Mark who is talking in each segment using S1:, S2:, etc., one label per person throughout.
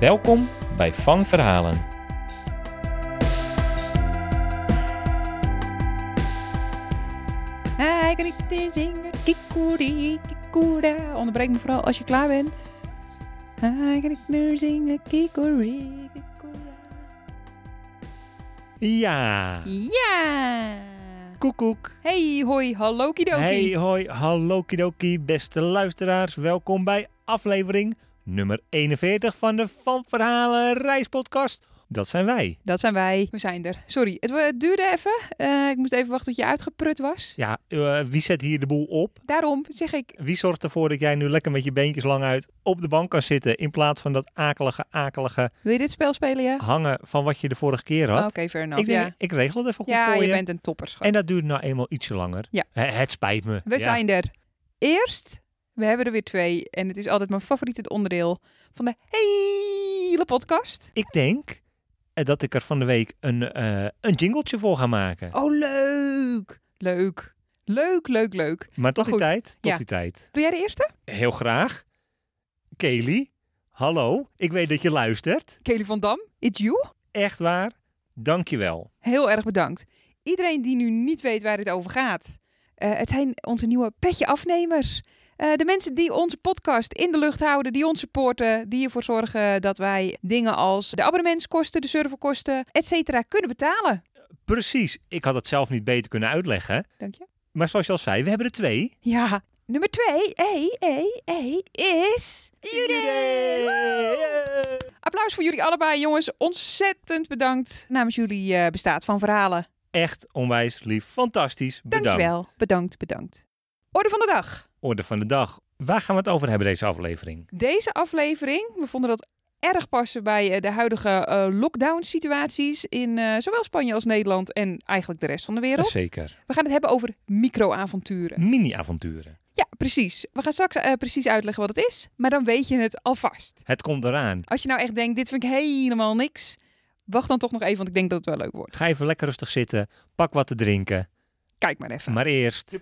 S1: Welkom bij Van Verhalen.
S2: Hij kan niet meer zingen, kikoeri, kikoera. Onderbreek me vooral als je klaar bent. Hij kan niet meer zingen, kikoeri, kikoera.
S1: Ja,
S2: Ja!
S1: koekoek.
S2: Hey, hoi, hallo kidoki.
S1: Hey, hoi, hallo kidoki, beste luisteraars. Welkom bij aflevering nummer 41 van de Van Verhalen Reispodcast. Dat zijn wij.
S2: Dat zijn wij. We zijn er. Sorry, het, het duurde even. Eh, ik moest even wachten tot je uitgeprut was.
S1: Ja, eh, wie zet hier de boel op?
S2: Daarom zeg ik
S1: Wie zorgt ervoor dat jij nu lekker met je beentjes lang uit op de bank kan zitten in plaats van dat akelige, akelige
S2: Wil je dit spel spelen, ja?
S1: hangen van wat je de vorige keer
S2: Oké,
S1: had?
S2: fair enough.
S1: ik, denk,
S2: ja,
S1: ik regel het even goed
S2: ja
S1: voor
S2: je
S1: je.
S2: bent een topper, schat.
S1: En dat duurt nou eenmaal ietsje langer.
S2: Ja.
S1: Hè, het spijt me.
S2: We
S1: Ja.
S2: zijn er. Eerst, we hebben er weer twee. En het is altijd mijn favoriete onderdeel van de hele podcast.
S1: Ik denk eh, dat ik er van de week een, eh, een jingletje voor ga maken.
S2: Oh, leuk. Leuk. Leuk, leuk, leuk.
S1: Maar tot
S2: goed,
S1: die tijd, tot
S2: ja.
S1: die tijd.
S2: Ben jij de eerste?
S1: Heel graag. Kelly, hallo. Ik weet dat je luistert.
S2: Kelly van Dam, it's you.
S1: Echt waar. Dank je wel.
S2: Heel erg bedankt. Iedereen die nu niet weet waar het over gaat. eh, het zijn onze nieuwe petje afnemers. Eh, de mensen die onze podcast in de lucht houden, die ons supporten, die ervoor zorgen dat wij dingen als de abonnementskosten, de serverkosten, et cetera, kunnen betalen.
S1: Precies. Ik had het zelf niet beter kunnen uitleggen.
S2: Dank je.
S1: Maar zoals je al zei, we hebben er twee.
S2: Ja. Nummer twee, hé, hé, hé, is... Applaus voor jullie allebei, jongens. Ontzettend bedankt namens jullie eh, bestaat van verhalen.
S1: Echt onwijs lief. Fantastisch. Bedankt.
S2: Dankjewel. Bedankt, bedankt. Orde van de dag.
S1: Orde van de dag. Waar gaan we het over hebben deze aflevering?
S2: Deze aflevering, we vonden dat erg passen bij eh, de huidige eh, lockdown-situaties in eh, zowel Spanje als Nederland en eigenlijk de rest van de wereld.
S1: Zeker.
S2: We gaan het hebben over microavonturen.
S1: Mini-avonturen.
S2: Ja, precies. We gaan straks eh, precies uitleggen wat het is, maar dan weet je het alvast.
S1: Het komt eraan.
S2: Als je nou echt denkt, dit vind ik helemaal niks, wacht dan toch nog even, want ik denk dat het wel leuk wordt.
S1: Ga even lekker rustig zitten. Pak wat te drinken.
S2: Kijk maar even.
S1: Maar eerst.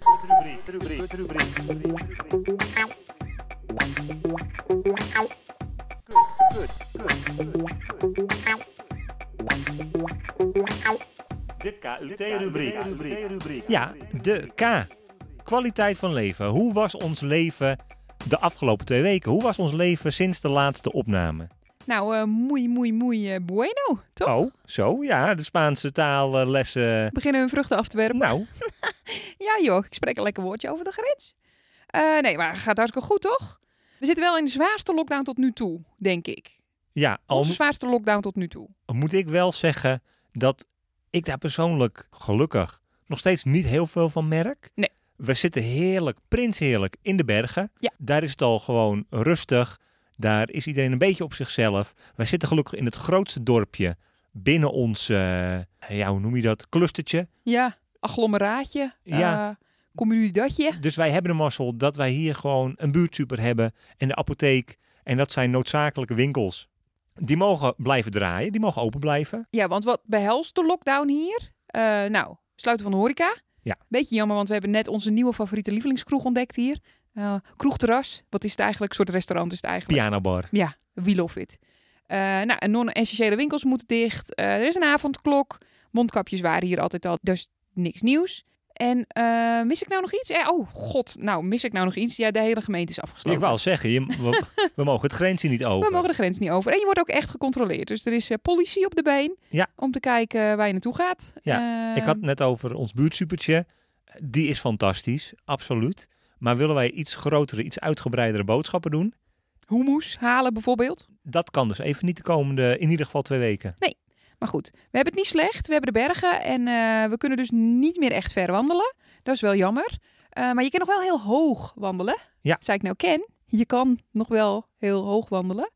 S1: De KUT-rubriek. Ja, de K. Kwaliteit van leven. Hoe was ons leven de afgelopen twee weken? Hoe was ons leven sinds de laatste opname?
S2: Nou, eh moei, moei, moei, eh, bueno, toch?
S1: Oh, zo ja, de Spaanse taallessen.
S2: Beginnen hun vruchten af te werpen.
S1: Nou,
S2: Ja joh, ik spreek een lekker woordje over de grens. Eh, nee, maar gaat hartstikke goed, toch? We zitten wel in de zwaarste lockdown tot nu toe, denk ik.
S1: ja, al,
S2: Onze zwaarste lockdown tot nu toe.
S1: moet ik wel zeggen dat ik daar persoonlijk gelukkig nog steeds niet heel veel van merk.
S2: Nee.
S1: We zitten heerlijk, prinsheerlijk in de bergen.
S2: Ja.
S1: Daar is het al gewoon rustig. Daar is iedereen een beetje op zichzelf. Wij zitten gelukkig in het grootste dorpje binnen ons, eh, ja, hoe noem je dat, clustertje.
S2: Ja, agglomeraatje.
S1: Ja.
S2: eh, Ja. Communidadje.
S1: Dus wij hebben de mazzel dat wij hier gewoon een buurtsuper hebben en de apotheek. En dat zijn noodzakelijke winkels. Die mogen blijven draaien, die mogen open blijven.
S2: Ja, want wat behelst de lockdown hier? Eh, nou, sluiten van de horeca.
S1: Ja.
S2: Beetje jammer, want we hebben net onze nieuwe favoriete lievelingskroeg ontdekt hier. Eh, kroegterras. Wat is het eigenlijk? Een soort restaurant is het eigenlijk.
S1: Pianobar.
S2: Ja, we love it. Eh, nou, en non-essentiële winkels moeten dicht. Eh, er is een avondklok. Mondkapjes waren hier altijd al, dus niks nieuws. En eh, mis ik nou nog iets? Eh, oh god, nou mis ik nou nog iets? Ja, de hele gemeente is
S1: Ik
S2: afgesloten.
S1: wou al zeggen, je- we, we mogen het grensje niet over.
S2: We mogen de grens niet over. En je wordt ook echt gecontroleerd. Dus er is eh, politie op de been
S1: Ja.
S2: om te kijken waar je naartoe gaat. Eh,
S1: Ik had het net over ons buurtsupertje. Die is fantastisch, absoluut. Maar willen wij iets grotere, iets uitgebreidere boodschappen doen?
S2: hummus halen bijvoorbeeld.
S1: Dat kan dus even niet de komende, in ieder geval twee weken.
S2: Maar goed, we hebben het niet slecht. We hebben de bergen en eh, we kunnen dus niet meer echt ver wandelen. Dat is wel jammer. Eh, maar je kan nog wel heel hoog wandelen.
S1: Ja.
S2: Zei ik nou ken. Je kan nog wel heel hoog wandelen.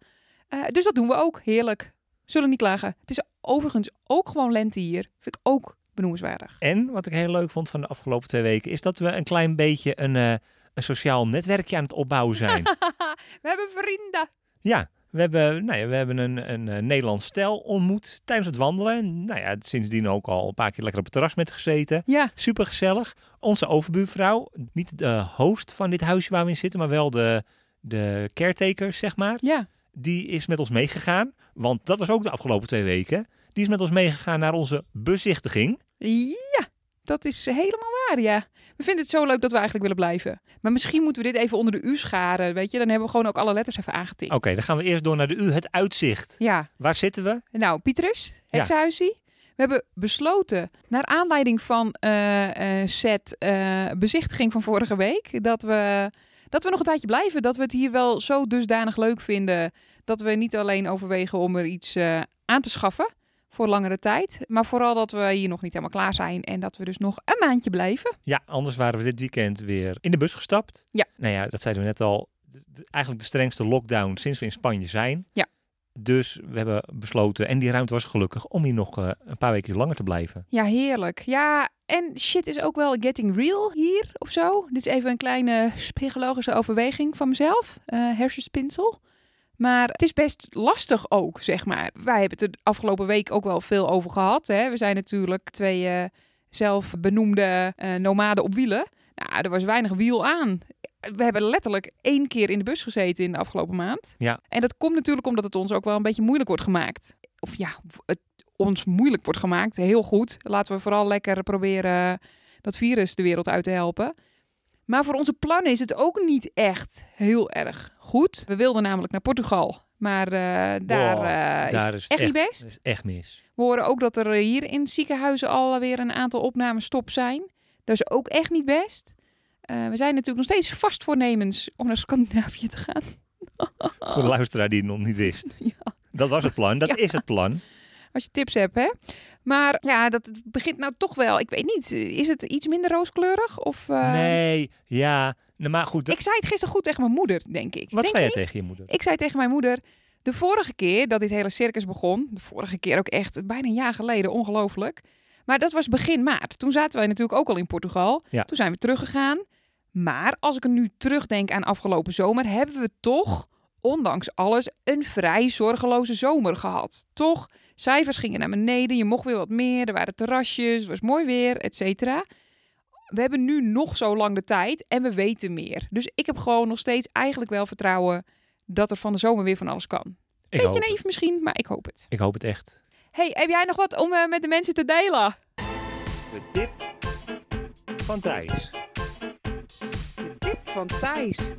S2: Eh, dus dat doen we ook. Heerlijk. Zullen niet klagen. Het is overigens ook gewoon lente hier. Vind ik ook benoemenswaardig.
S1: En wat ik heel leuk vond van de afgelopen twee weken is dat we een klein beetje een, eh, een sociaal netwerkje aan het opbouwen zijn.
S2: We hebben vrienden.
S1: ja, we hebben, nou ja, we hebben een, een eh, Nederlands stel ontmoet tijdens het wandelen. En, Nou ja, sindsdien ook al een paar keer lekker op het terras met gezeten.
S2: Ja,
S1: Super gezellig. Onze overbuurvrouw, niet de host van dit huisje waar we in zitten, maar wel de, de caretaker, zeg maar.
S2: ja.
S1: Die is met ons meegegaan, want dat was ook de afgelopen twee weken. Die is met ons meegegaan naar onze bezichtiging.
S2: Ja, dat is helemaal waar, ja. We vinden het zo leuk dat we eigenlijk willen blijven. Maar misschien moeten we dit even onder de U scharen, weet je. Dan hebben we gewoon ook alle letters even aangetikt.
S1: Oké, dan gaan we eerst door naar de U, het uitzicht.
S2: Ja,
S1: Waar zitten we?
S2: nou, Pietrus, Hexhuisie. We hebben besloten, naar aanleiding van eh eh set eh, bezichtiging van vorige week, dat we, dat we nog een tijdje blijven. Dat we het hier wel zo dusdanig leuk vinden dat we niet alleen overwegen om er iets eh, aan te schaffen voor langere tijd. Maar vooral dat we hier nog niet helemaal klaar zijn en dat we dus nog een maandje blijven.
S1: Ja, anders waren we dit weekend weer in de bus gestapt.
S2: Ja.
S1: Nou ja, dat zeiden we net al. D- d- Eigenlijk de strengste lockdown sinds we in Spanje zijn.
S2: Ja.
S1: Dus we hebben besloten, en die ruimte was gelukkig, om hier nog eh, een paar weken langer te blijven.
S2: Ja, heerlijk. Ja, en shit is ook wel getting real hier of zo. Dit is even een kleine psychologische overweging van mezelf, eh, hersenspinsel. Maar het is best lastig ook, zeg maar. Wij hebben het er de afgelopen week ook wel veel over gehad. Hè? We zijn natuurlijk twee eh, zelfbenoemde eh, nomaden op wielen. Nou, er was weinig wiel aan. We hebben letterlijk één keer in de bus gezeten in de afgelopen maand.
S1: Ja.
S2: En dat komt natuurlijk omdat het ons ook wel een beetje moeilijk wordt gemaakt. Of ja, het ons moeilijk wordt gemaakt. Heel goed. Laten we vooral lekker proberen dat virus de wereld uit te helpen. Maar voor onze plannen is het ook niet echt heel erg goed. We wilden namelijk naar Portugal. Maar eh, daar,
S1: Wow,
S2: eh, is
S1: daar
S2: het
S1: is het
S2: echt, niet best.
S1: Dat is echt mis.
S2: We horen ook dat er eh, hier in ziekenhuizen alweer een aantal opnames stop zijn. Dat is ook echt niet best. Eh, we zijn natuurlijk nog steeds vast voornemens om naar Scandinavië te gaan.
S1: Voor de luisteraar die het nog niet wist.
S2: Oh. Ja.
S1: Dat was het plan, dat
S2: Ja.
S1: is het plan.
S2: Als je tips hebt, hè. Maar ja, dat begint nou toch wel. Ik weet niet, is het iets minder rooskleurig? Of, eh,
S1: Nee, ja. Nou, maar goed, dat-
S2: Ik zei het gisteren goed tegen mijn moeder, denk ik.
S1: wat
S2: denk
S1: zei
S2: je
S1: je tegen je moeder?
S2: niet? Ik zei tegen mijn moeder, de vorige keer dat dit hele circus begon... de vorige keer ook echt, bijna een jaar geleden, ongelooflijk. Maar dat was begin maart. Toen zaten wij natuurlijk ook al in Portugal.
S1: Ja.
S2: Toen zijn we teruggegaan. Maar als ik er nu terugdenk aan afgelopen zomer... hebben we toch, ondanks alles, een vrij zorgeloze zomer gehad. Toch, cijfers gingen naar beneden. Je mocht weer wat meer. Er waren terrasjes. Het was mooi weer, et cetera. We hebben nu nog zo lang de tijd en we weten meer. Dus ik heb gewoon nog steeds eigenlijk wel vertrouwen... dat er van de zomer weer van alles kan.
S1: Ik
S2: Beetje
S1: hoop, het.
S2: naïef misschien, maar ik hoop het.
S1: ik hoop het echt.
S2: Hey, heb jij nog wat om eh, met de mensen te delen?
S1: De tip van Thijs.
S2: Tip van Thijs.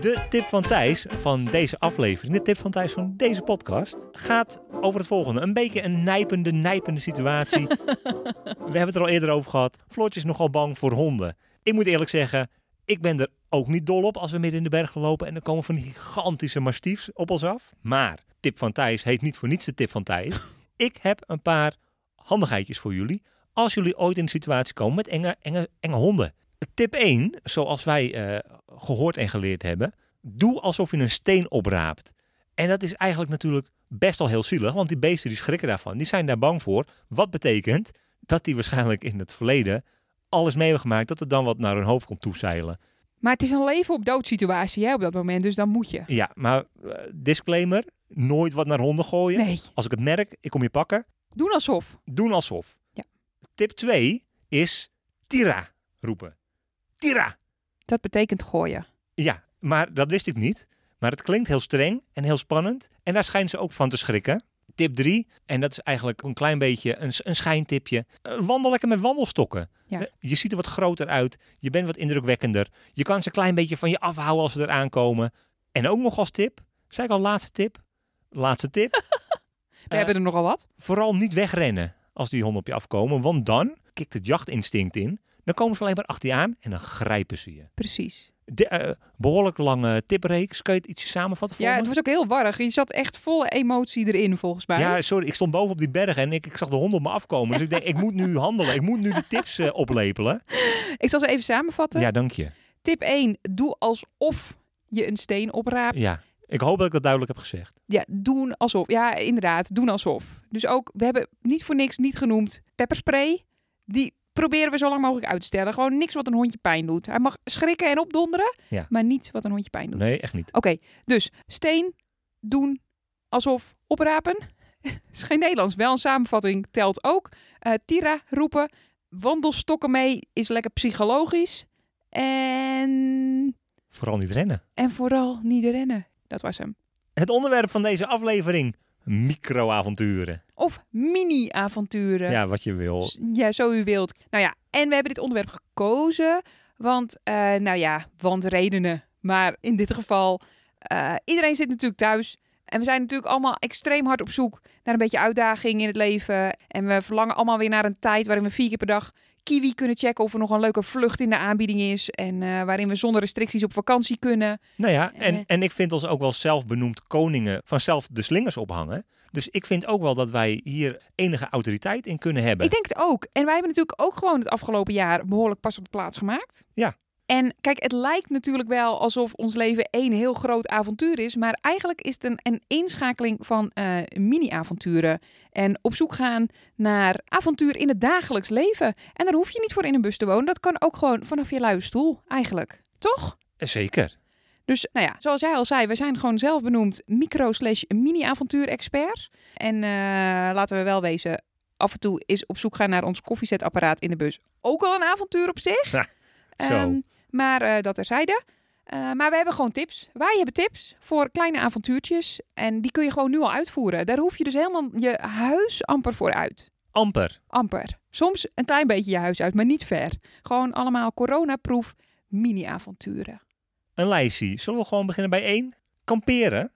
S1: De tip van Thijs van deze aflevering, de tip van Thijs van deze podcast, gaat over het volgende. Een beetje een nijpende, nijpende situatie. We hebben het er al eerder over gehad. Floortje is nogal bang voor honden. Ik moet eerlijk zeggen, ik ben er ook niet dol op als we midden in de bergen lopen en er komen van die gigantische mastiefs op ons af. Maar tip van Thijs heet niet voor niets de tip van Thijs. Ik heb een paar handigheidjes voor jullie als jullie ooit in een situatie komen met enge, enge, enge honden. Tip 1, zoals wij eh, gehoord en geleerd hebben, doe alsof je een steen opraapt. En dat is eigenlijk natuurlijk best al heel zielig, want die beesten die schrikken daarvan. Die zijn daar bang voor. Wat betekent dat die waarschijnlijk in het verleden alles mee hebben gemaakt dat er dan wat naar hun hoofd komt toezeilen.
S2: Maar het is een leven op dood situatie hè, op dat moment, dus dan moet je.
S1: Ja, maar eh, disclaimer, nooit wat naar honden gooien.
S2: Nee,
S1: Als ik het merk, ik kom je pakken.
S2: doen alsof.
S1: Doen alsof.
S2: Ja.
S1: Tip 2 is tira roepen. Tira!
S2: Dat betekent gooien.
S1: Ja, maar dat wist ik niet. Maar het klinkt heel streng en heel spannend. En daar schijnen ze ook van te schrikken. Tip 3, en dat is eigenlijk een klein beetje een, s- een schijntipje. Eh, Wandel lekker met wandelstokken.
S2: Ja.
S1: Eh, Je ziet er wat groter uit. Je bent wat indrukwekkender. Je kan ze een klein beetje van je afhouden als ze eraan komen. En ook nog als tip, zei ik al laatste tip? Laatste tip,
S2: We
S1: Eh,
S2: hebben er nogal wat.
S1: vooral niet wegrennen als die honden op je afkomen. Want dan kikt het jachtinstinct in. Dan komen ze alleen maar achter je aan en dan grijpen ze je.
S2: Precies.
S1: De, eh, behoorlijk lange tipreeks. Kan je het ietsje samenvatten voor
S2: Ja,
S1: me?
S2: het was ook heel warrig. Je zat echt vol emotie erin, volgens mij.
S1: Ja, sorry. Ik stond boven op die berg en ik, ik zag de honden op me afkomen. Dus ik denk, ik moet nu handelen. Ik moet nu de tips eh, oplepelen.
S2: Ik zal ze even samenvatten.
S1: Ja, dank je.
S2: Tip 1, doe alsof je een steen opraapt.
S1: Ja, Ik hoop dat ik dat duidelijk heb gezegd.
S2: Ja, doen alsof. Ja, inderdaad, doen alsof. Dus ook, we hebben niet voor niks niet genoemd pepperspray. Die proberen we zo lang mogelijk uit te stellen. Gewoon niks wat een hondje pijn doet. Hij mag schrikken en opdonderen,
S1: Ja.
S2: maar niet wat een hondje pijn doet.
S1: Nee, echt niet.
S2: Oké, dus steen, doen, alsof, oprapen. is geen Nederlands, wel een samenvatting telt ook. Eh, tira, roepen, wandelstokken mee is lekker psychologisch. En,
S1: Vooral niet rennen.
S2: en vooral niet rennen. Dat was hem.
S1: Het onderwerp van deze aflevering: microavonturen.
S2: Of mini-avonturen.
S1: Ja, wat je wil.
S2: S- Ja, zo u wilt. Nou ja, en we hebben dit onderwerp gekozen. Want, eh, nou ja, want redenen. Maar in dit geval, eh, iedereen zit natuurlijk thuis. En we zijn natuurlijk allemaal extreem hard op zoek naar een beetje uitdaging in het leven. En we verlangen allemaal weer naar een tijd waarin we vier keer per dag Kiwi kunnen checken of er nog een leuke vlucht in de aanbieding is. En eh, waarin we zonder restricties op vakantie kunnen.
S1: Nou ja, en,
S2: Eh.
S1: en ik vind ons ook wel zelf benoemd koningen van zelf de slingers ophangen. Dus ik vind ook wel dat wij hier enige autoriteit in kunnen hebben.
S2: Ik denk het ook. En wij hebben natuurlijk ook gewoon het afgelopen jaar behoorlijk pas op de plaats gemaakt.
S1: Ja.
S2: En kijk, het lijkt natuurlijk wel alsof ons leven één heel groot avontuur is. Maar eigenlijk is het een, een inschakeling van eh, mini-avonturen. En op zoek gaan naar avontuur in het dagelijks leven. En daar hoef je niet voor in een bus te wonen. Dat kan ook gewoon vanaf je luie stoel, eigenlijk. Toch?
S1: Zeker.
S2: Dus nou ja, zoals jij al zei, we zijn gewoon zelf benoemd micro slash mini-avontuur-experts. En eh, laten we wel wezen, af en toe is op zoek gaan naar ons koffiezetapparaat in de bus ook al een avontuur op zich.
S1: Ja, zo.
S2: Ehm, maar eh dat terzijde. Eh maar we hebben gewoon tips. Wij hebben tips voor kleine avontuurtjes. En die kun je gewoon nu al uitvoeren. Daar hoef je dus helemaal je huis amper voor uit.
S1: Amper.
S2: Amper. Soms een klein beetje je huis uit, maar niet ver. Gewoon allemaal coronaproof mini-avonturen.
S1: Een lijstje. Zullen we gewoon beginnen bij één? Kamperen.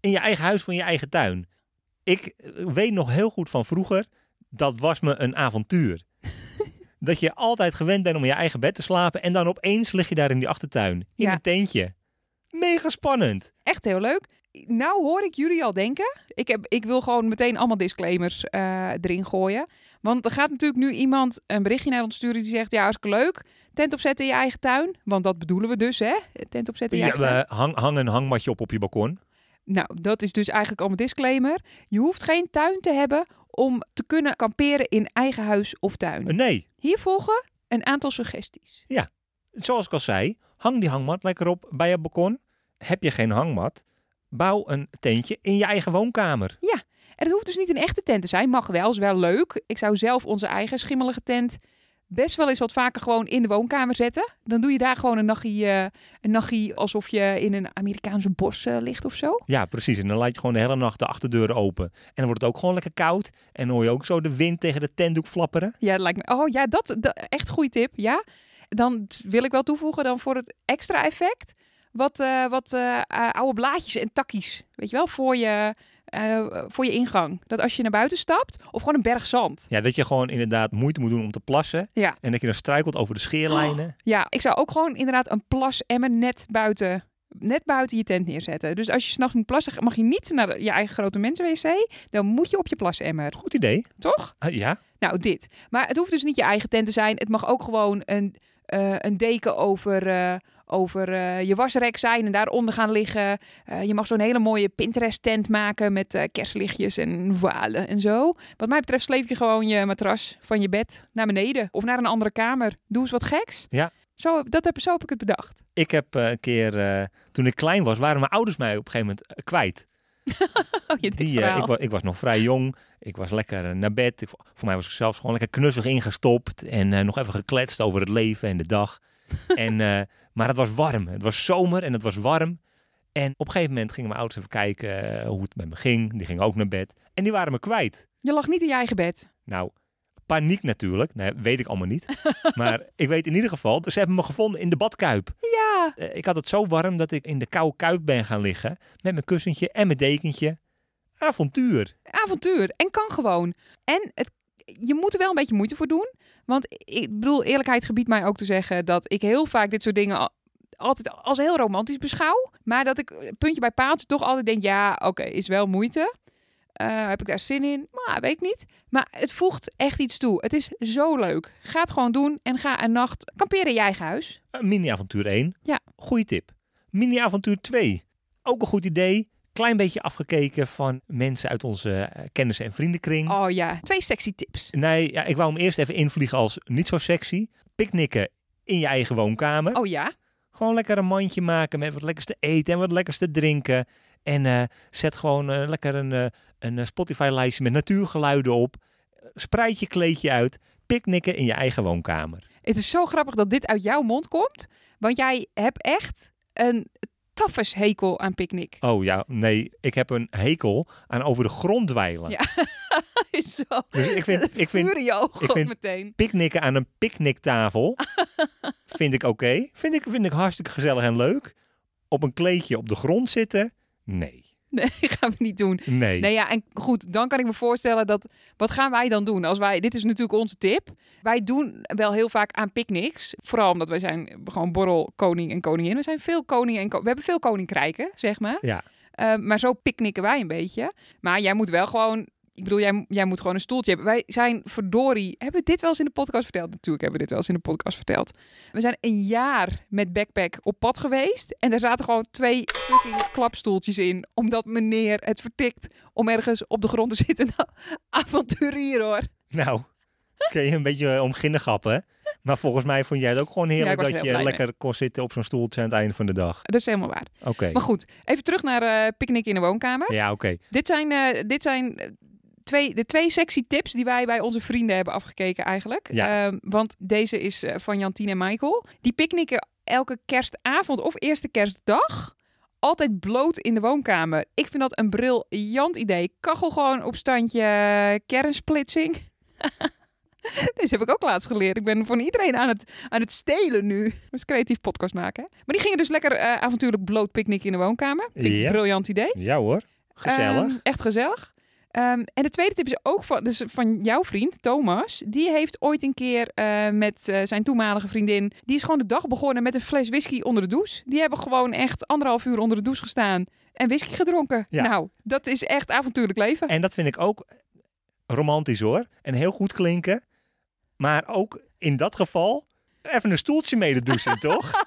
S1: In je eigen huis van je eigen tuin. Ik eh, weet nog heel goed van vroeger, dat was me een avontuur. dat je altijd gewend bent om in je eigen bed te slapen en dan opeens lig je daar in die achtertuin. In
S2: Ja.
S1: een tentje. Mega spannend.
S2: Echt heel leuk. Nou hoor ik jullie al denken. Ik, heb, ik wil gewoon meteen allemaal disclaimers eh, erin gooien. Want er gaat natuurlijk nu iemand een berichtje naar ons sturen die zegt... Ja, hartstikke leuk. Tent opzetten in je eigen tuin. Want dat bedoelen we dus, hè? Tent opzetten in je
S1: Ja,
S2: eigen tuin.
S1: we hang, hang een hangmatje op op je balkon.
S2: Nou, dat is dus eigenlijk al mijn disclaimer. Je hoeft geen tuin te hebben om te kunnen kamperen in eigen huis of tuin.
S1: Eh, Nee,
S2: Hier volgen een aantal suggesties.
S1: zoals ik al zei, hang die hangmat lekker op bij je balkon. Heb je geen hangmat, bouw een tentje in je eigen woonkamer.
S2: En het hoeft dus niet een echte tent te zijn. Mag wel, is wel leuk. Ik zou zelf onze eigen schimmelige tent best wel eens wat vaker gewoon in de woonkamer zetten. Dan doe je daar gewoon een nachtje, eh, een nachtje alsof je in een Amerikaanse bos eh, ligt of zo.
S1: Ja, precies. En dan laat je gewoon de hele nacht de achterdeuren open. En dan wordt het ook gewoon lekker koud. En dan hoor je ook zo de wind tegen de tentdoek flapperen.
S2: Ja, dat lijkt me. Oh ja, dat, dat echt goede tip. Ja. Dan t- wil ik wel toevoegen dan voor het extra effect. Wat, eh, wat eh, eh, oude blaadjes en takkies. Weet je wel, voor je, eh, voor je ingang. Dat als je naar buiten stapt, of gewoon een berg zand.
S1: Ja, dat je gewoon inderdaad moeite moet doen om te plassen.
S2: Ja.
S1: En dat je dan struikelt over de scheerlijnen.
S2: Ja, ik zou ook gewoon inderdaad een plasemmer net buiten, net buiten je tent neerzetten. Dus als je s'nachts moet plassen, mag je niet naar je eigen grote mensenwc. Dan moet je op je plasemmer,
S1: Goed idee.
S2: toch?
S1: Ah, ja,
S2: Nou, dit. Maar het hoeft dus niet je eigen tent te zijn. Het mag ook gewoon een, eh, een deken over, eh, over eh, je wasrek zijn en daaronder gaan liggen. Eh, je mag zo'n hele mooie Pinterest-tent maken met eh, kerstlichtjes en voalen en zo. Wat mij betreft sleep je gewoon je matras van je bed naar beneden of naar een andere kamer. Doe eens wat geks.
S1: Ja.
S2: Zo, heb- dat heb, zo heb ik het bedacht.
S1: ik heb eh, een keer, eh, toen ik klein was, waren mijn ouders mij op een gegeven moment eh, kwijt.
S2: Oh, je dit
S1: Die, eh,
S2: verhaal.
S1: ik, wa- ik was nog vrij jong. Ik was lekker eh, naar bed. Ik, vo- voor mij was ik zelfs gewoon lekker knussig ingestopt. En eh, nog even gekletst over het leven en de dag. en, eh, maar het was warm. Het was zomer en het was warm. En op een gegeven moment gingen mijn ouders even kijken eh, hoe het met me ging. Die gingen ook naar bed. En die waren me kwijt.
S2: Je lag niet in je eigen bed.
S1: Nou, paniek natuurlijk. Nee, weet ik allemaal niet. maar ik weet in ieder geval, ze hebben me gevonden in de badkuip.
S2: Ja.
S1: Eh, ik had het zo warm dat ik in de koude kuip ben gaan liggen. Met mijn kussentje en mijn dekentje. Avontuur.
S2: avontuur en kan gewoon. En het, je moet er wel een beetje moeite voor doen. Want ik bedoel, eerlijkheid gebiedt mij ook te zeggen dat ik heel vaak dit soort dingen al- altijd als heel romantisch beschouw. Maar dat ik eh, puntje bij paaltje toch altijd denk, ja, oké, is wel moeite. Eh, heb ik daar zin in? Maar weet ik niet. Maar het voegt echt iets toe. Het is zo leuk. Ga het gewoon doen en ga een nacht kamperen in je eigen huis.
S1: Eh, Mini-avontuur 1.
S2: Ja.
S1: Goeie tip. Mini-avontuur 2. Ook een goed idee. Klein beetje afgekeken van mensen uit onze eh, kennis- en vriendenkring.
S2: Oh ja, twee sexy tips.
S1: Nee, ja, ik wou hem eerst even invliegen als niet zo sexy. Picknicken in je eigen woonkamer.
S2: Oh ja,
S1: Gewoon lekker een mandje maken met wat lekkers te eten en wat lekkers te drinken. En eh, zet gewoon eh, lekker een, eh, een eh, Spotify-lijstje met natuurgeluiden op. Spreid je kleedje uit. Picknicken in je eigen woonkamer.
S2: het is zo grappig dat dit uit jouw mond komt. Want jij hebt echt een taffes hekel aan picknick.
S1: Oh ja, nee, ik heb een hekel aan over de grond dweilen.
S2: Ja. zo,
S1: Dus ik vind, ik vind
S2: vuur in je ogen
S1: ik vind-
S2: meteen.
S1: picknicken aan een picknicktafel. vind ik oké. Vind, ik, vind ik hartstikke gezellig en leuk. Op een kleedje op de grond zitten. Nee.
S2: Nee, gaan we niet doen.
S1: Nee.
S2: Nee, ja, en goed, dan kan ik me voorstellen dat. Wat gaan wij dan doen? Als wij, dit is natuurlijk onze tip. Wij doen wel heel vaak aan picknicks. Vooral omdat wij zijn gewoon borrel koning en koningin. We zijn veel koningen en ko- We hebben veel koninkrijken, zeg maar.
S1: Ja.
S2: Eh, maar zo picknicken wij een beetje. Maar jij moet wel gewoon. Ik bedoel, jij, jij moet gewoon een stoeltje hebben. Wij zijn verdorie. Hebben we dit wel eens in de podcast verteld? Natuurlijk hebben we dit wel eens in de podcast verteld. We zijn een jaar met backpack op pad geweest. En daar zaten gewoon twee fucking klapstoeltjes in. Omdat meneer het vertikt om ergens op de grond te zitten. Nou, avonturier hoor.
S1: Nou, kun je een beetje eh, om ginnen grappen. Maar volgens mij vond jij het ook gewoon heerlijk
S2: Ja, ik was
S1: dat
S2: er heel
S1: je
S2: blij
S1: lekker kon zitten op zo'n stoeltje aan het einde van de dag.
S2: Dat is helemaal waar.
S1: Oké.
S2: Maar goed, even terug naar eh picknick in de woonkamer.
S1: Ja, oké.
S2: Dit zijn, eh, dit zijn eh, twee, de twee sexy tips die wij bij onze vrienden hebben afgekeken eigenlijk.
S1: Ja.
S2: Ehm, want deze is eh, van Jantine en Michael. Die picknicken elke kerstavond of eerste kerstdag altijd bloot in de woonkamer. Ik vind dat een briljant idee. Kachel gewoon op standje eh, kernsplitsing. Deze heb ik ook laatst geleerd. Ik ben van iedereen aan het, aan het stelen nu. Dat is creatief podcast maken. hè? Maar die gingen dus lekker eh, avontuurlijk bloot picknicken in de woonkamer. Vind ik een
S1: Ja.
S2: briljant idee.
S1: Ja hoor. Gezellig.
S2: Ehm, echt gezellig. Ehm, en de tweede tip is ook van, dus van jouw vriend, Thomas. Die heeft ooit een keer eh, met eh, zijn toenmalige vriendin... die is gewoon de dag begonnen met een fles whisky onder de douche. Die hebben gewoon echt anderhalf uur onder de douche gestaan... en whisky gedronken.
S1: Ja.
S2: Nou, dat is echt avontuurlijk leven.
S1: En dat vind ik ook romantisch hoor. En heel goed klinken. Maar ook in dat geval even een stoeltje mee de douche in, toch?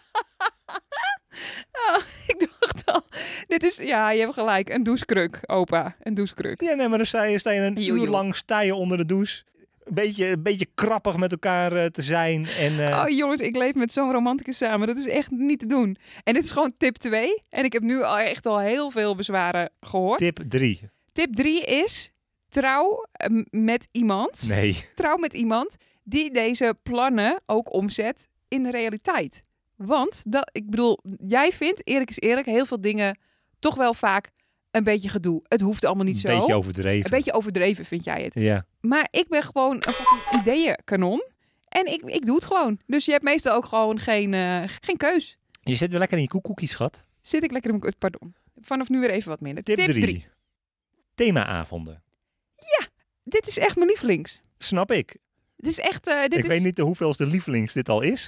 S2: Ik dacht al, dit is... Ja, je hebt gelijk. Een douchekruk, opa. Een douchekruk.
S1: Ja, nee, maar dan sta je, sta je een
S2: Joe,
S1: uur
S2: joe.
S1: lang sta je onder de douche. Een beetje, een beetje krappig met elkaar eh, te zijn. En, eh,
S2: Oh jongens, ik leef met zo'n romanticus samen. Dat is echt niet te doen. En dit is gewoon tip 2. En ik heb nu al echt al heel veel bezwaren gehoord.
S1: Tip 3.
S2: Tip 3 is trouw eh, met iemand.
S1: Nee.
S2: Trouw met iemand die deze plannen ook omzet in de realiteit. Want dat, ik bedoel, jij vindt, eerlijk is eerlijk, heel veel dingen toch wel vaak een beetje gedoe. Het hoeft allemaal niet
S1: Een
S2: zo.
S1: beetje overdreven.
S2: Een beetje overdreven vind jij het.
S1: Ja.
S2: Maar ik ben gewoon een fucking ideeënkanon. En ik, ik doe het gewoon. Dus je hebt meestal ook gewoon geen, eh, geen keus.
S1: Je zit wel lekker in je koekoekie, schat.
S2: Zit ik lekker in mijn... Pardon. Vanaf nu weer even wat minder.
S1: Tip
S2: drie.
S1: 3. Themaavonden.
S2: Dit is echt mijn lievelings.
S1: Snap ik.
S2: Dit is echt... eh, dit
S1: ik
S2: is...
S1: weet niet de hoeveelste lievelings dit al is.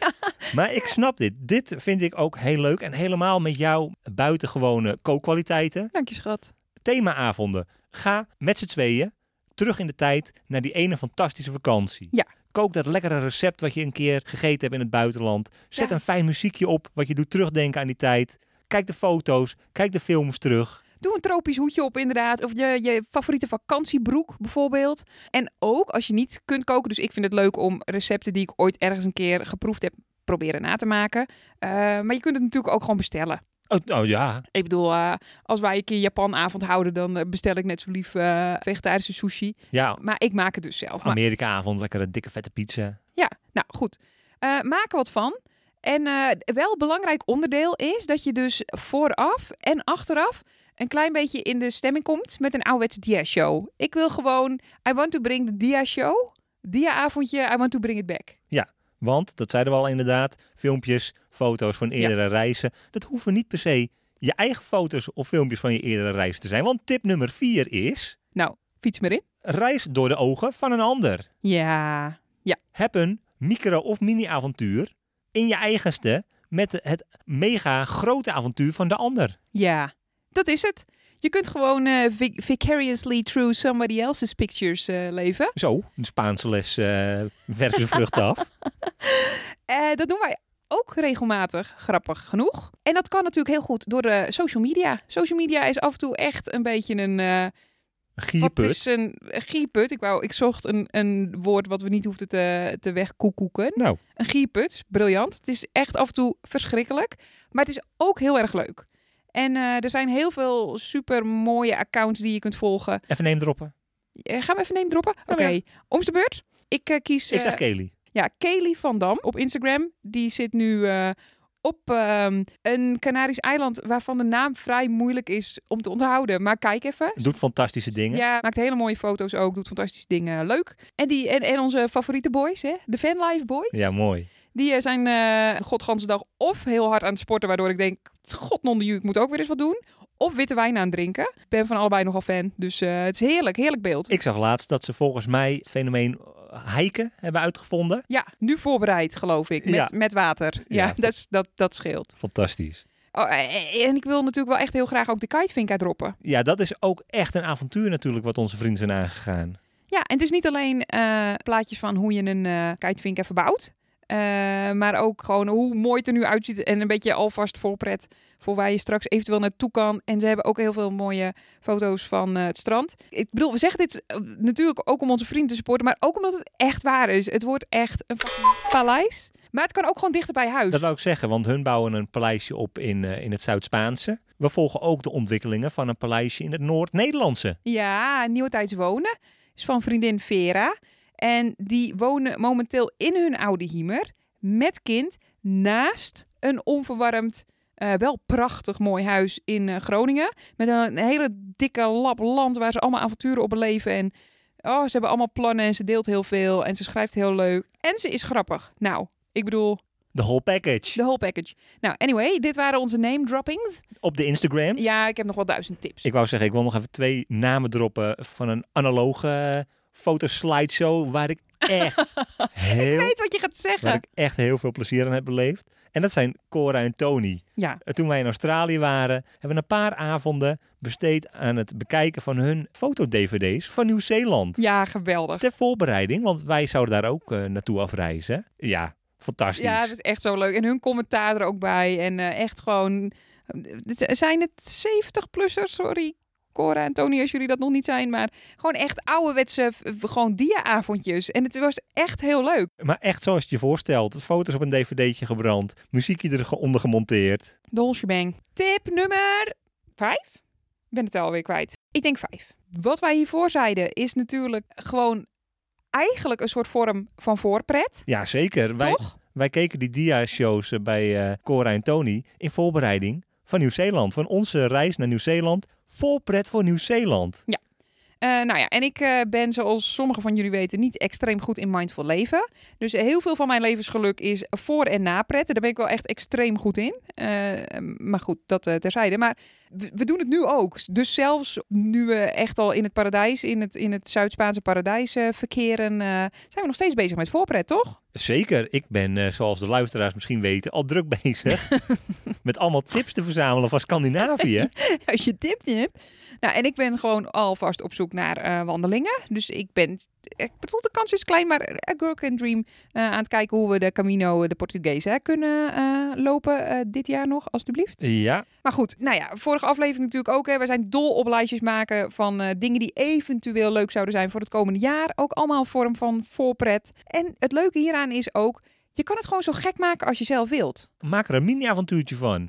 S1: maar ik snap dit. Dit vind ik ook heel leuk. En helemaal met jouw buitengewone kookkwaliteiten.
S2: Dank je, schat.
S1: Themaavonden. Ga met z'n tweeën terug in de tijd naar die ene fantastische vakantie.
S2: Ja.
S1: Kook dat lekkere recept wat je een keer gegeten hebt in het buitenland. Zet
S2: Ja.
S1: een fijn muziekje op wat je doet terugdenken aan die tijd. Kijk de foto's, kijk de films terug.
S2: Doe een tropisch hoedje op inderdaad. Of je, je favoriete vakantiebroek bijvoorbeeld. En ook als je niet kunt koken. Dus ik vind het leuk om recepten die ik ooit ergens een keer geproefd heb proberen na te maken. Eh, maar je kunt het natuurlijk ook gewoon bestellen.
S1: Oh, oh ja,
S2: Ik bedoel, eh, als wij een keer Japanavond houden, dan eh, bestel ik net zo lief eh, vegetarische sushi.
S1: ja.
S2: Maar ik maak het dus zelf. Maar,
S1: Amerikaavond, lekkere dikke vette pizza.
S2: ja, nou goed. Eh, maak er wat van. En eh, wel belangrijk onderdeel is dat je dus vooraf en achteraf een klein beetje in de stemming komt met een ouderwetse dia-show. Ik wil gewoon, I want to bring the dia-show, dia-avondje, I want to bring it back.
S1: Want, dat zeiden we al inderdaad, filmpjes, foto's van eerdere reizen. Dat hoeven niet per se je eigen foto's of filmpjes van je eerdere reis te zijn. Want tip nummer vier is,
S2: Nou, fiets maar in.
S1: reis door de ogen van een ander.
S2: Ja,
S1: Heb een micro- of mini-avontuur in je eigenste met het mega grote avontuur van de ander.
S2: ja, dat is het. Je kunt gewoon eh, vic- vicariously through somebody else's pictures eh, leven.
S1: Zo, een Spaanse les eh versus vlucht af.
S2: Eh, dat doen wij ook regelmatig, grappig genoeg. En dat kan natuurlijk heel goed door de social media. Social media is af en toe echt een beetje een... eh, wat
S1: Gierput.
S2: is een gierput? Ik, wou, ik zocht een, een woord wat we niet hoefden te, te wegkoekoeken.
S1: Nou,
S2: Een gierput, is briljant. Het is echt af en toe verschrikkelijk. Maar het is ook heel erg leuk. En eh, er zijn heel veel super mooie accounts die je kunt volgen.
S1: even neem droppen.
S2: Eh, gaan we even neem droppen? Oké,
S1: ja.
S2: om de beurt. Ik eh, kies
S1: Ik
S2: eh,
S1: zeg Kelly.
S2: ja, Kelly van Dam op Instagram. Die zit nu eh, op ehm, een Canarisch eiland waarvan de naam vrij moeilijk is om te onthouden. Maar kijk even.
S1: Doet fantastische dingen.
S2: Ja, maakt hele mooie foto's ook, doet fantastische dingen, leuk. En, die, en, en onze favoriete boys, hè? de Fanlife Boys,
S1: Ja, mooi.
S2: die eh, zijn eh de godganse dag of heel hard aan het sporten, waardoor ik denk, god non de ju, ik moet ook weer eens wat doen. Of witte wijn aan het drinken. Ik ben van allebei nogal fan, dus eh, het is heerlijk, heerlijk beeld.
S1: Ik zag laatst dat ze volgens mij het fenomeen eh, hiken hebben uitgevonden.
S2: Ja, nu voorbereid, geloof ik, met,
S1: Ja.
S2: met water. Ja,
S1: Ja.
S2: Dat, is- dat, dat scheelt.
S1: Fantastisch.
S2: Oh, eh, en ik wil natuurlijk wel echt heel graag ook de kitevinka droppen.
S1: Ja, dat is ook echt een avontuur natuurlijk wat onze vrienden zijn aangegaan.
S2: Ja, en het is niet alleen eh, plaatjes van hoe je een eh kitevinka verbouwt. eh, maar ook gewoon hoe mooi het er nu uitziet. En een beetje alvast voorpret voor waar je straks eventueel naartoe kan. En ze hebben ook heel veel mooie foto's van eh, het strand. Ik bedoel, we zeggen dit eh, natuurlijk ook om onze vrienden te supporten. Maar ook omdat het echt waar is. Het wordt echt een fucking paleis. Maar het kan ook gewoon dichter bij huis.
S1: Dat wou ik zeggen, want hun bouwen een paleisje op in, eh, in het Zuid-Spaanse. We volgen ook de ontwikkelingen van een paleisje in het Noord-Nederlandse.
S2: Ja, Nieuwe Tijds Wonen is van vriendin Vera. En die wonen momenteel in hun oude hiemer met kind naast een onverwarmd, eh, wel prachtig mooi huis in eh, Groningen. Met een hele dikke lap land waar ze allemaal avonturen op beleven. En oh, ze hebben allemaal plannen en ze deelt heel veel en ze schrijft heel leuk. En ze is grappig. Nou, ik bedoel,
S1: De whole package.
S2: de whole package. Nou, anyway, dit waren onze name droppings.
S1: Op de Instagram.
S2: Ja, ik heb nog wel duizend tips.
S1: Ik wou zeggen, ik wil nog even twee namen droppen van een analoge eh, fotoslideshow waar ik echt, heel,
S2: Ik weet wat je gaat
S1: waar
S2: zeggen.
S1: ik echt heel veel plezier aan heb beleefd. En dat zijn Cora en Tony.
S2: Ja.
S1: Eh, Toen wij in Australië waren, hebben we een paar avonden besteed aan het bekijken van hun foto-dvd's van Nieuw-Zeeland.
S2: Ja, geweldig.
S1: Ter voorbereiding, want wij zouden daar ook eh, naartoe afreizen. Ja, fantastisch.
S2: Ja, dat is echt zo leuk. En hun commentaar er ook bij. En eh, echt gewoon... Het Zijn het 70-plussers? Sorry, Cora en Tony, als jullie dat nog niet zijn. Maar gewoon echt ouderwetse, v- gewoon dia-avondjes. En het was echt heel leuk.
S1: Maar echt zoals je je voorstelt. Foto's op een dvd'tje gebrand, muziekje eronder gemonteerd.
S2: De Holsje Bang. Tip nummer 5? Ik ben het alweer kwijt. Ik denk 5. Wat wij hiervoor zeiden is natuurlijk gewoon eigenlijk een soort vorm van voorpret.
S1: Ja, zeker. Wij,
S2: Toch?
S1: wij keken die dia-shows eh, bij eh, Cora en Tony in voorbereiding van Nieuw-Zeeland. Van onze reis naar Nieuw-Zeeland. Vol pret voor Nieuw-Zeeland.
S2: Eh, nou ja, en ik eh, ben zoals sommigen van jullie weten niet extreem goed in mindful leven. Dus heel veel van mijn levensgeluk is voor- en napretten. Daar ben ik wel echt extreem goed in. Eh, maar goed, dat eh, terzijde. Maar we, we doen het nu ook. Dus zelfs nu we echt al in het paradijs, in het, in het Zuid-Spaanse paradijs eh, verkeren, eh, zijn we nog steeds bezig met voorpret, toch?
S1: Zeker. Ik ben, eh, zoals de luisteraars misschien weten, al druk bezig met allemaal tips te verzamelen van Scandinavië.
S2: Als je dit niet hebt. Nou, en ik ben gewoon alvast op zoek naar eh, wandelingen. Dus ik ben, ik bedoel, de kans is klein, maar a girl can dream eh, aan het kijken hoe we de Camino eh, de Portugees hè, kunnen eh, lopen eh, dit jaar nog, alstublieft.
S1: Ja,
S2: Maar goed, nou ja, vorige aflevering natuurlijk ook. Hè, wij zijn dol op lijstjes maken van eh, dingen die eventueel leuk zouden zijn voor het komende jaar. Ook allemaal een vorm van voorpret. En het leuke hieraan is ook, je kan het gewoon zo gek maken als je zelf wilt.
S1: maak er een mini-avontuurtje van.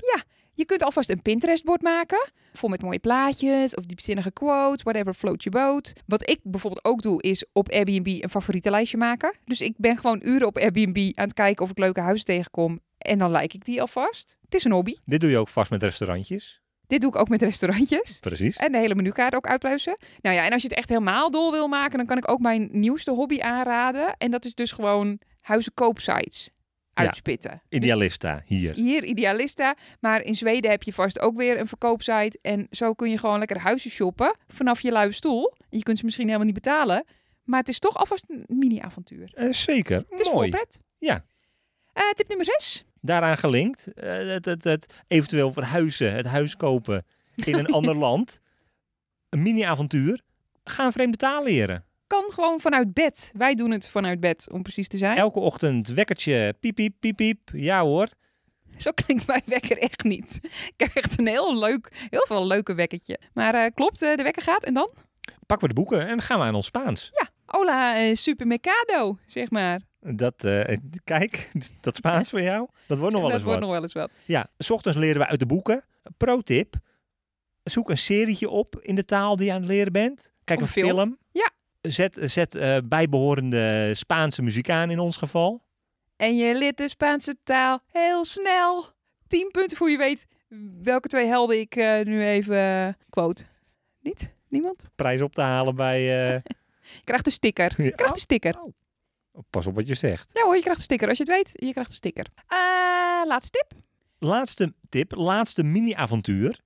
S2: Je kunt alvast een Pinterest-bord maken. Vol met mooie plaatjes of diepzinnige quote, whatever float your boat. Wat ik bijvoorbeeld ook doe, is op Airbnb een favoriete lijstje maken. Dus ik ben gewoon uren op Airbnb aan het kijken of ik leuke huizen tegenkom. En dan like ik die alvast. Het is een hobby.
S1: Dit doe je ook vast met restaurantjes.
S2: Dit doe ik ook met restaurantjes.
S1: Precies.
S2: En de hele menukaart ook uitpluizen. Nou ja, en als je het echt helemaal dol wil maken, dan kan ik ook mijn nieuwste hobby aanraden. En dat is dus gewoon huizenkoopsites uitspitten.
S1: Idealista hier.
S2: Hier Idealista, maar in Zweden heb je vast ook weer een verkoopsite. En zo kun je gewoon lekker huizen shoppen vanaf je luie stoel. Je kunt ze misschien helemaal niet betalen, maar het is toch alvast een mini-avontuur.
S1: Eh, zeker.
S2: Het is
S1: Mooi.
S2: voorpret.
S1: Ja.
S2: Eh, tip nummer 6.
S1: Daaraan gelinkt. eh, het, het, het eventueel verhuizen, het huis kopen in een ander land. Een mini-avontuur. Ga een vreemde taal leren.
S2: kan gewoon vanuit bed. Wij doen het vanuit bed, om precies te zijn.
S1: Elke ochtend wekkertje, piep, piep, piep, piep. Ja hoor.
S2: Zo klinkt mijn wekker echt niet. Ik heb echt een heel leuk, heel veel leuke wekkertje. Maar eh, klopt, eh, de wekker gaat en dan?
S1: Pakken we de boeken en gaan we aan ons Spaans.
S2: Hola, eh, supermercado, zeg maar.
S1: Dat, eh, kijk, dat Spaans voor jou, dat wordt nog wel
S2: dat
S1: eens
S2: wordt
S1: wat.
S2: nog wel eens wat.
S1: Ja, s ochtends leren we uit de boeken. Pro tip, zoek een serietje op in de taal die je aan het leren bent. Kijk
S2: Of
S1: een
S2: film.
S1: film.
S2: Ja.
S1: Zet, zet eh, bijbehorende Spaanse muziek aan in ons geval.
S2: En je leert de Spaanse taal heel snel. 10 punten voor je weet welke twee helden ik eh, nu even eh, quote. Niet? Niemand?
S1: Prijs op te halen bij... eh,
S2: Je krijgt een sticker. Je
S1: Oh.
S2: krijgt een sticker.
S1: pas op wat je zegt.
S2: Ja hoor, je krijgt een sticker. Als je het weet, je krijgt een sticker. Eh, laatste tip.
S1: Laatste tip, laatste mini-avontuur.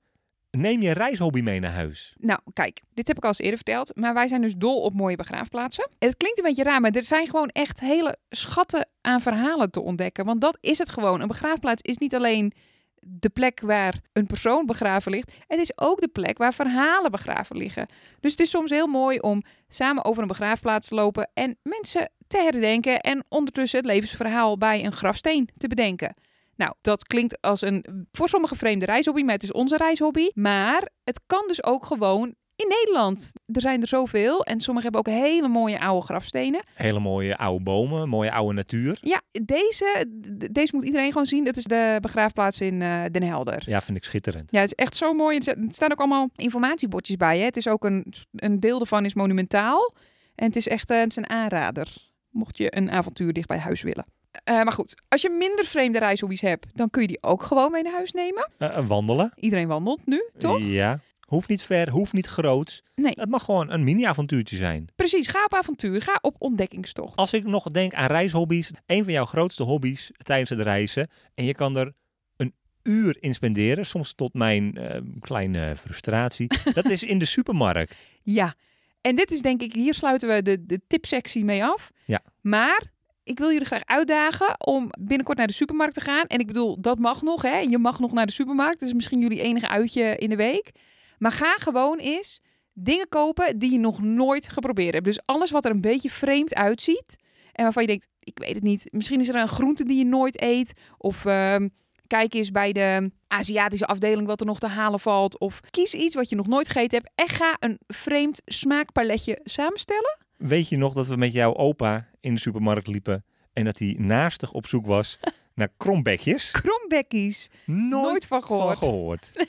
S1: Neem je reishobby mee naar huis.
S2: Nou, kijk, dit heb ik al eens eerder verteld, maar wij zijn dus dol op mooie begraafplaatsen. Het klinkt een beetje raar, maar er zijn gewoon echt hele schatten aan verhalen te ontdekken. Want dat is het gewoon. Een begraafplaats is niet alleen de plek waar een persoon begraven ligt, het is ook de plek waar verhalen begraven liggen. Dus het is soms heel mooi om samen over een begraafplaats te lopen en mensen te herdenken en ondertussen het levensverhaal bij een grafsteen te bedenken. Nou, dat klinkt als een voor sommigen vreemde reishobby, maar het is onze reishobby. Maar het kan dus ook gewoon in Nederland. Er zijn er zoveel en sommigen hebben ook hele mooie oude grafstenen.
S1: Hele mooie oude bomen, mooie oude natuur.
S2: Ja, deze, d- deze moet iedereen gewoon zien. Dat is de begraafplaats in eh, Den Helder.
S1: Ja, vind ik schitterend.
S2: Ja, het is echt zo mooi. Er zi- er staan ook allemaal informatiebordjes bij. Hè? Het is ook een, een deel daarvan is monumentaal. En het is echt eh, het is een aanrader. Mocht je een avontuur dicht bij huis willen. Eh, maar goed, als je minder vreemde reishobby's hebt, dan kun je die ook gewoon mee naar huis nemen.
S1: Eh, eh, wandelen.
S2: Iedereen wandelt nu, toch?
S1: Ja. Hoeft niet ver, hoeft niet groot.
S2: Nee.
S1: Het mag gewoon een mini-avontuurtje zijn.
S2: Precies, ga op avontuur. Ga op ontdekkingstocht.
S1: Als ik nog denk aan reishobby's, een van jouw grootste hobby's tijdens het reizen. En je kan er een uur in spenderen, soms tot mijn eh, kleine frustratie. Dat is in de supermarkt.
S2: Ja, en dit is denk ik, hier sluiten we de, de tipsectie mee af.
S1: Ja.
S2: Maar ik wil jullie graag uitdagen om binnenkort naar de supermarkt te gaan. En ik bedoel, dat mag nog, hè? Je mag nog naar de supermarkt. Dat is misschien jullie enige uitje in de week. Maar ga gewoon eens dingen kopen die je nog nooit geprobeerd hebt. Dus alles wat er een beetje vreemd uitziet. En waarvan je denkt, ik weet het niet. Misschien is er een groente die je nooit eet. Of ehm, kijk eens bij de Aziatische afdeling wat er nog te halen valt. Of kies iets wat je nog nooit gegeten hebt. En ga een vreemd smaakpaletje samenstellen.
S1: Weet je nog dat we met jouw opa in de supermarkt liepen en dat hij naastig op zoek was naar krombekjes?
S2: Krombekkies.
S1: Nooit,
S2: Nooit van gehoord.
S1: van gehoord.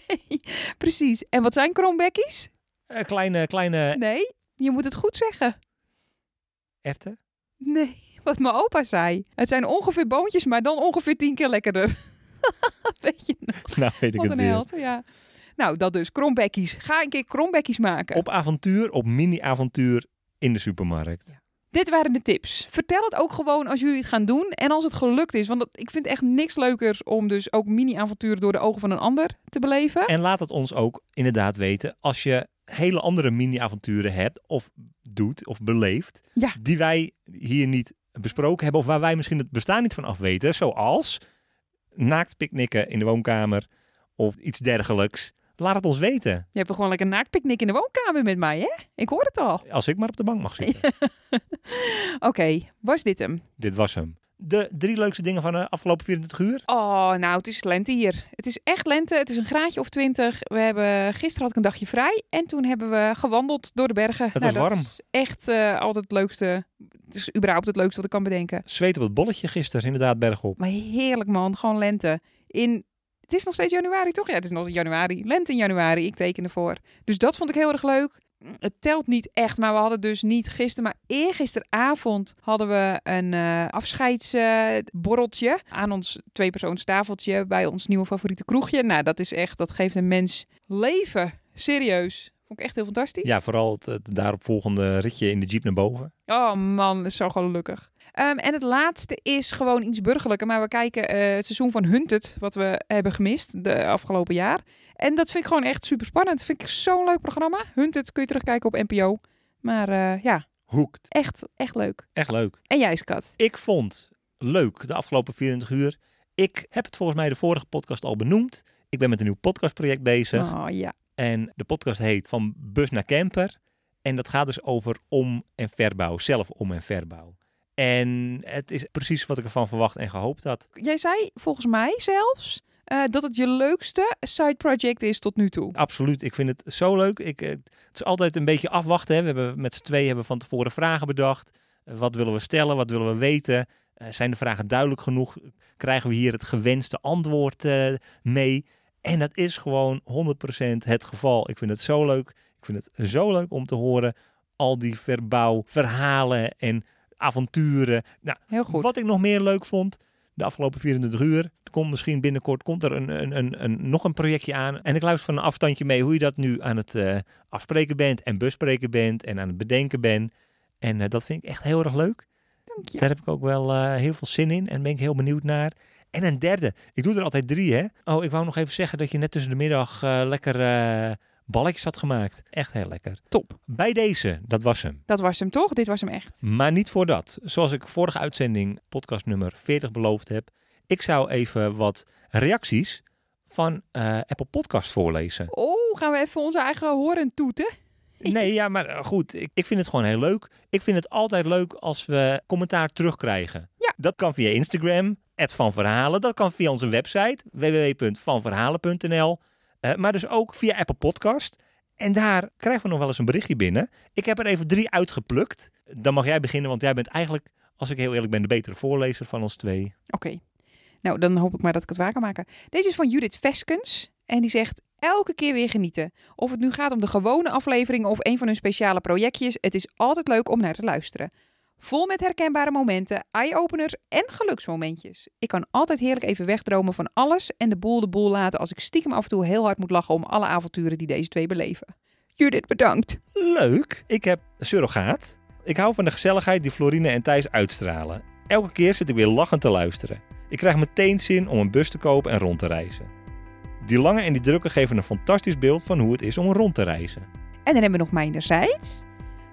S2: Precies. En wat zijn krombekkies?
S1: Eh, kleine, kleine
S2: Nee, je moet het goed zeggen.
S1: erten?
S2: Nee, wat mijn opa zei. Het zijn ongeveer boontjes, maar dan ongeveer tien keer lekkerder. Weet je nog?
S1: Nou, weet ik
S2: Wat
S1: het
S2: een
S1: weer.
S2: held, ja. Nou, dat dus. Krombekkies. Ga een keer krombekkies maken.
S1: Op avontuur, op mini-avontuur in de supermarkt.
S2: Dit waren de tips. Vertel het ook gewoon als jullie het gaan doen en als het gelukt is. Want dat- ik vind echt niks leukers om dus ook mini-avonturen door de ogen van een ander te beleven.
S1: En laat het ons ook inderdaad weten als je hele andere mini-avonturen hebt of doet of beleeft.
S2: Ja.
S1: Die wij hier niet besproken hebben of waar wij misschien het bestaan niet van af weten. Zoals naakt picknicken in de woonkamer of iets dergelijks. Laat het ons weten
S2: Je hebt gewoon lekker een naaktpicknick in de woonkamer met mij, hè? Ik hoor het al.
S1: als ik maar op de bank mag zitten.
S2: Oké, was dit hem?
S1: Dit was hem. De drie leukste dingen van de afgelopen 24 uur.
S2: Oh, nou, het is lente hier. Het is echt lente. Het is een graadje of twintig. We hebben, gisteren had ik een dagje vrij en toen hebben we gewandeld door de bergen. Het
S1: was warm.
S2: Dat is echt eh, altijd het leukste. Het is überhaupt het leukste wat ik kan bedenken.
S1: Zweet op het bolletje gisteren, inderdaad, bergop.
S2: Maar heerlijk man, gewoon lente. In, het is nog steeds januari toch? Ja, het is nog januari. Lente in januari, ik teken ervoor. Dus dat vond ik heel erg leuk. Het telt niet echt, maar we hadden dus niet gisteren, maar eergisteravond hadden we een eh afscheidsborreltje aan ons tweepersoonstafeltje bij ons nieuwe favoriete kroegje. Nou, dat is echt, dat geeft een mens leven. Serieus. Vond ik echt heel fantastisch.
S1: Ja, vooral het, het daaropvolgende ritje in de jeep naar boven.
S2: Oh man, dat is zo gelukkig. Ehm, en het laatste is gewoon iets burgerlijker. Maar we kijken eh, het seizoen van Hunted, wat we hebben gemist de afgelopen jaar. En dat vind ik gewoon echt super spannend. Vind ik zo'n leuk programma. Hunted kun je terugkijken op NPO. Maar eh, ja,
S1: Hoekt.
S2: echt, echt leuk.
S1: Echt leuk.
S2: En jij, Skat?
S1: Ik vond leuk de afgelopen 24 uur. Ik heb het volgens mij de vorige podcast al benoemd. Ik ben met een nieuw podcastproject bezig.
S2: Oh ja.
S1: En de podcast heet Van Bus naar Camper. En dat gaat dus over om- en verbouw, zelf om- en verbouw. En het is precies wat ik ervan verwacht en gehoopt had.
S2: Jij zei volgens mij zelfs eh, dat het je leukste side project is tot nu toe.
S1: Absoluut, ik vind het zo leuk. Ik, eh, het is altijd een beetje afwachten. Hè. We hebben met z'n tweeën hebben we van tevoren vragen bedacht. Eh, Wat willen we stellen? Wat willen we weten? Eh, zijn de vragen duidelijk genoeg? Krijgen we hier het gewenste antwoord eh, mee? En dat is gewoon 100% het geval. Ik vind het zo leuk. Ik vind het zo leuk om te horen. Al die verbouw, verhalen en avonturen. Nou,
S2: Heel goed.
S1: Wat ik nog meer leuk vond, de afgelopen 24 uur, er komt misschien binnenkort komt er een, een, een, een, nog een projectje aan. En ik luister van een afstandje mee hoe je dat nu aan het eh, afspreken bent en bespreken bent en aan het bedenken bent. En eh, dat vind ik echt heel erg leuk.
S2: Dank je.
S1: Daar heb ik ook wel eh, heel veel zin in en ben ik heel benieuwd naar. En een derde. Ik doe er altijd drie, hè. Oh, ik wou nog even zeggen dat je net tussen de middag eh, lekker eh balletjes had gemaakt. Echt heel lekker.
S2: Top.
S1: Bij deze, dat was hem.
S2: Dat was hem toch? Dit was hem echt.
S1: Maar niet voor dat. Zoals ik vorige uitzending, podcast nummer 40, beloofd heb. Ik zou even wat reacties van eh, Apple Podcast voorlezen.
S2: Oh, gaan we even onze eigen horen toeten?
S1: Nee, ja, maar eh, goed. Ik, ik vind het gewoon heel leuk. Ik vind het altijd leuk als we commentaar terugkrijgen.
S2: Ja.
S1: Dat kan via Instagram, @vanverhalen. Dat kan via onze website, www.vanverhalen.nl. Eh, maar dus ook via Apple Podcast. En daar krijgen we nog wel eens een berichtje binnen. Ik heb er even drie uitgeplukt. Dan mag jij beginnen, want jij bent eigenlijk, als ik heel eerlijk ben, de betere voorlezer van ons twee.
S2: Oké. Nou, dan hoop ik maar dat ik het waar kan maken. Deze is van Judith Veskens. En die zegt, elke keer weer genieten. Of het nu gaat om de gewone afleveringen of een van hun speciale projectjes. Het is altijd leuk om naar te luisteren. Vol met herkenbare momenten, eye-openers en geluksmomentjes. Ik kan altijd heerlijk even wegdromen van alles en de boel de boel laten als ik stiekem af en toe heel hard moet lachen om alle avonturen die deze twee beleven. Judith, bedankt.
S1: Leuk. Ik heb surrogaat. Ik hou van de gezelligheid die Florine en Thijs uitstralen. Elke keer zit ik weer lachend te luisteren. Ik krijg meteen zin om een bus te kopen en rond te reizen. Die lange en die drukke geven een fantastisch beeld van hoe het is om rond te reizen.
S2: En dan hebben we nog mijnerzijds.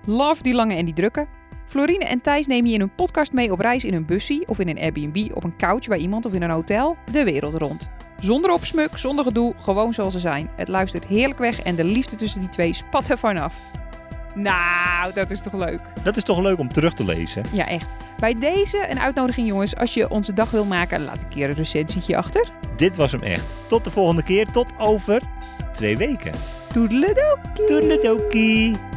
S2: Love die lange en die drukke. Florine en Thijs nemen je in hun podcast mee op reis in een bussie of in een Airbnb, op een couch bij iemand of in een hotel, de wereld rond. Zonder opsmuk, zonder gedoe, gewoon zoals ze zijn. Het luistert heerlijk weg en de liefde tussen die twee spat er vanaf. Nou, dat is toch leuk?
S1: Dat is toch leuk om terug te lezen?
S2: Ja, echt. Bij deze een uitnodiging, jongens. Als je onze dag wil maken, laat een keer een recensietje achter.
S1: Dit was hem echt. Tot de volgende keer. Tot over twee weken.
S2: Doedeledokie!
S1: Toedeledokie.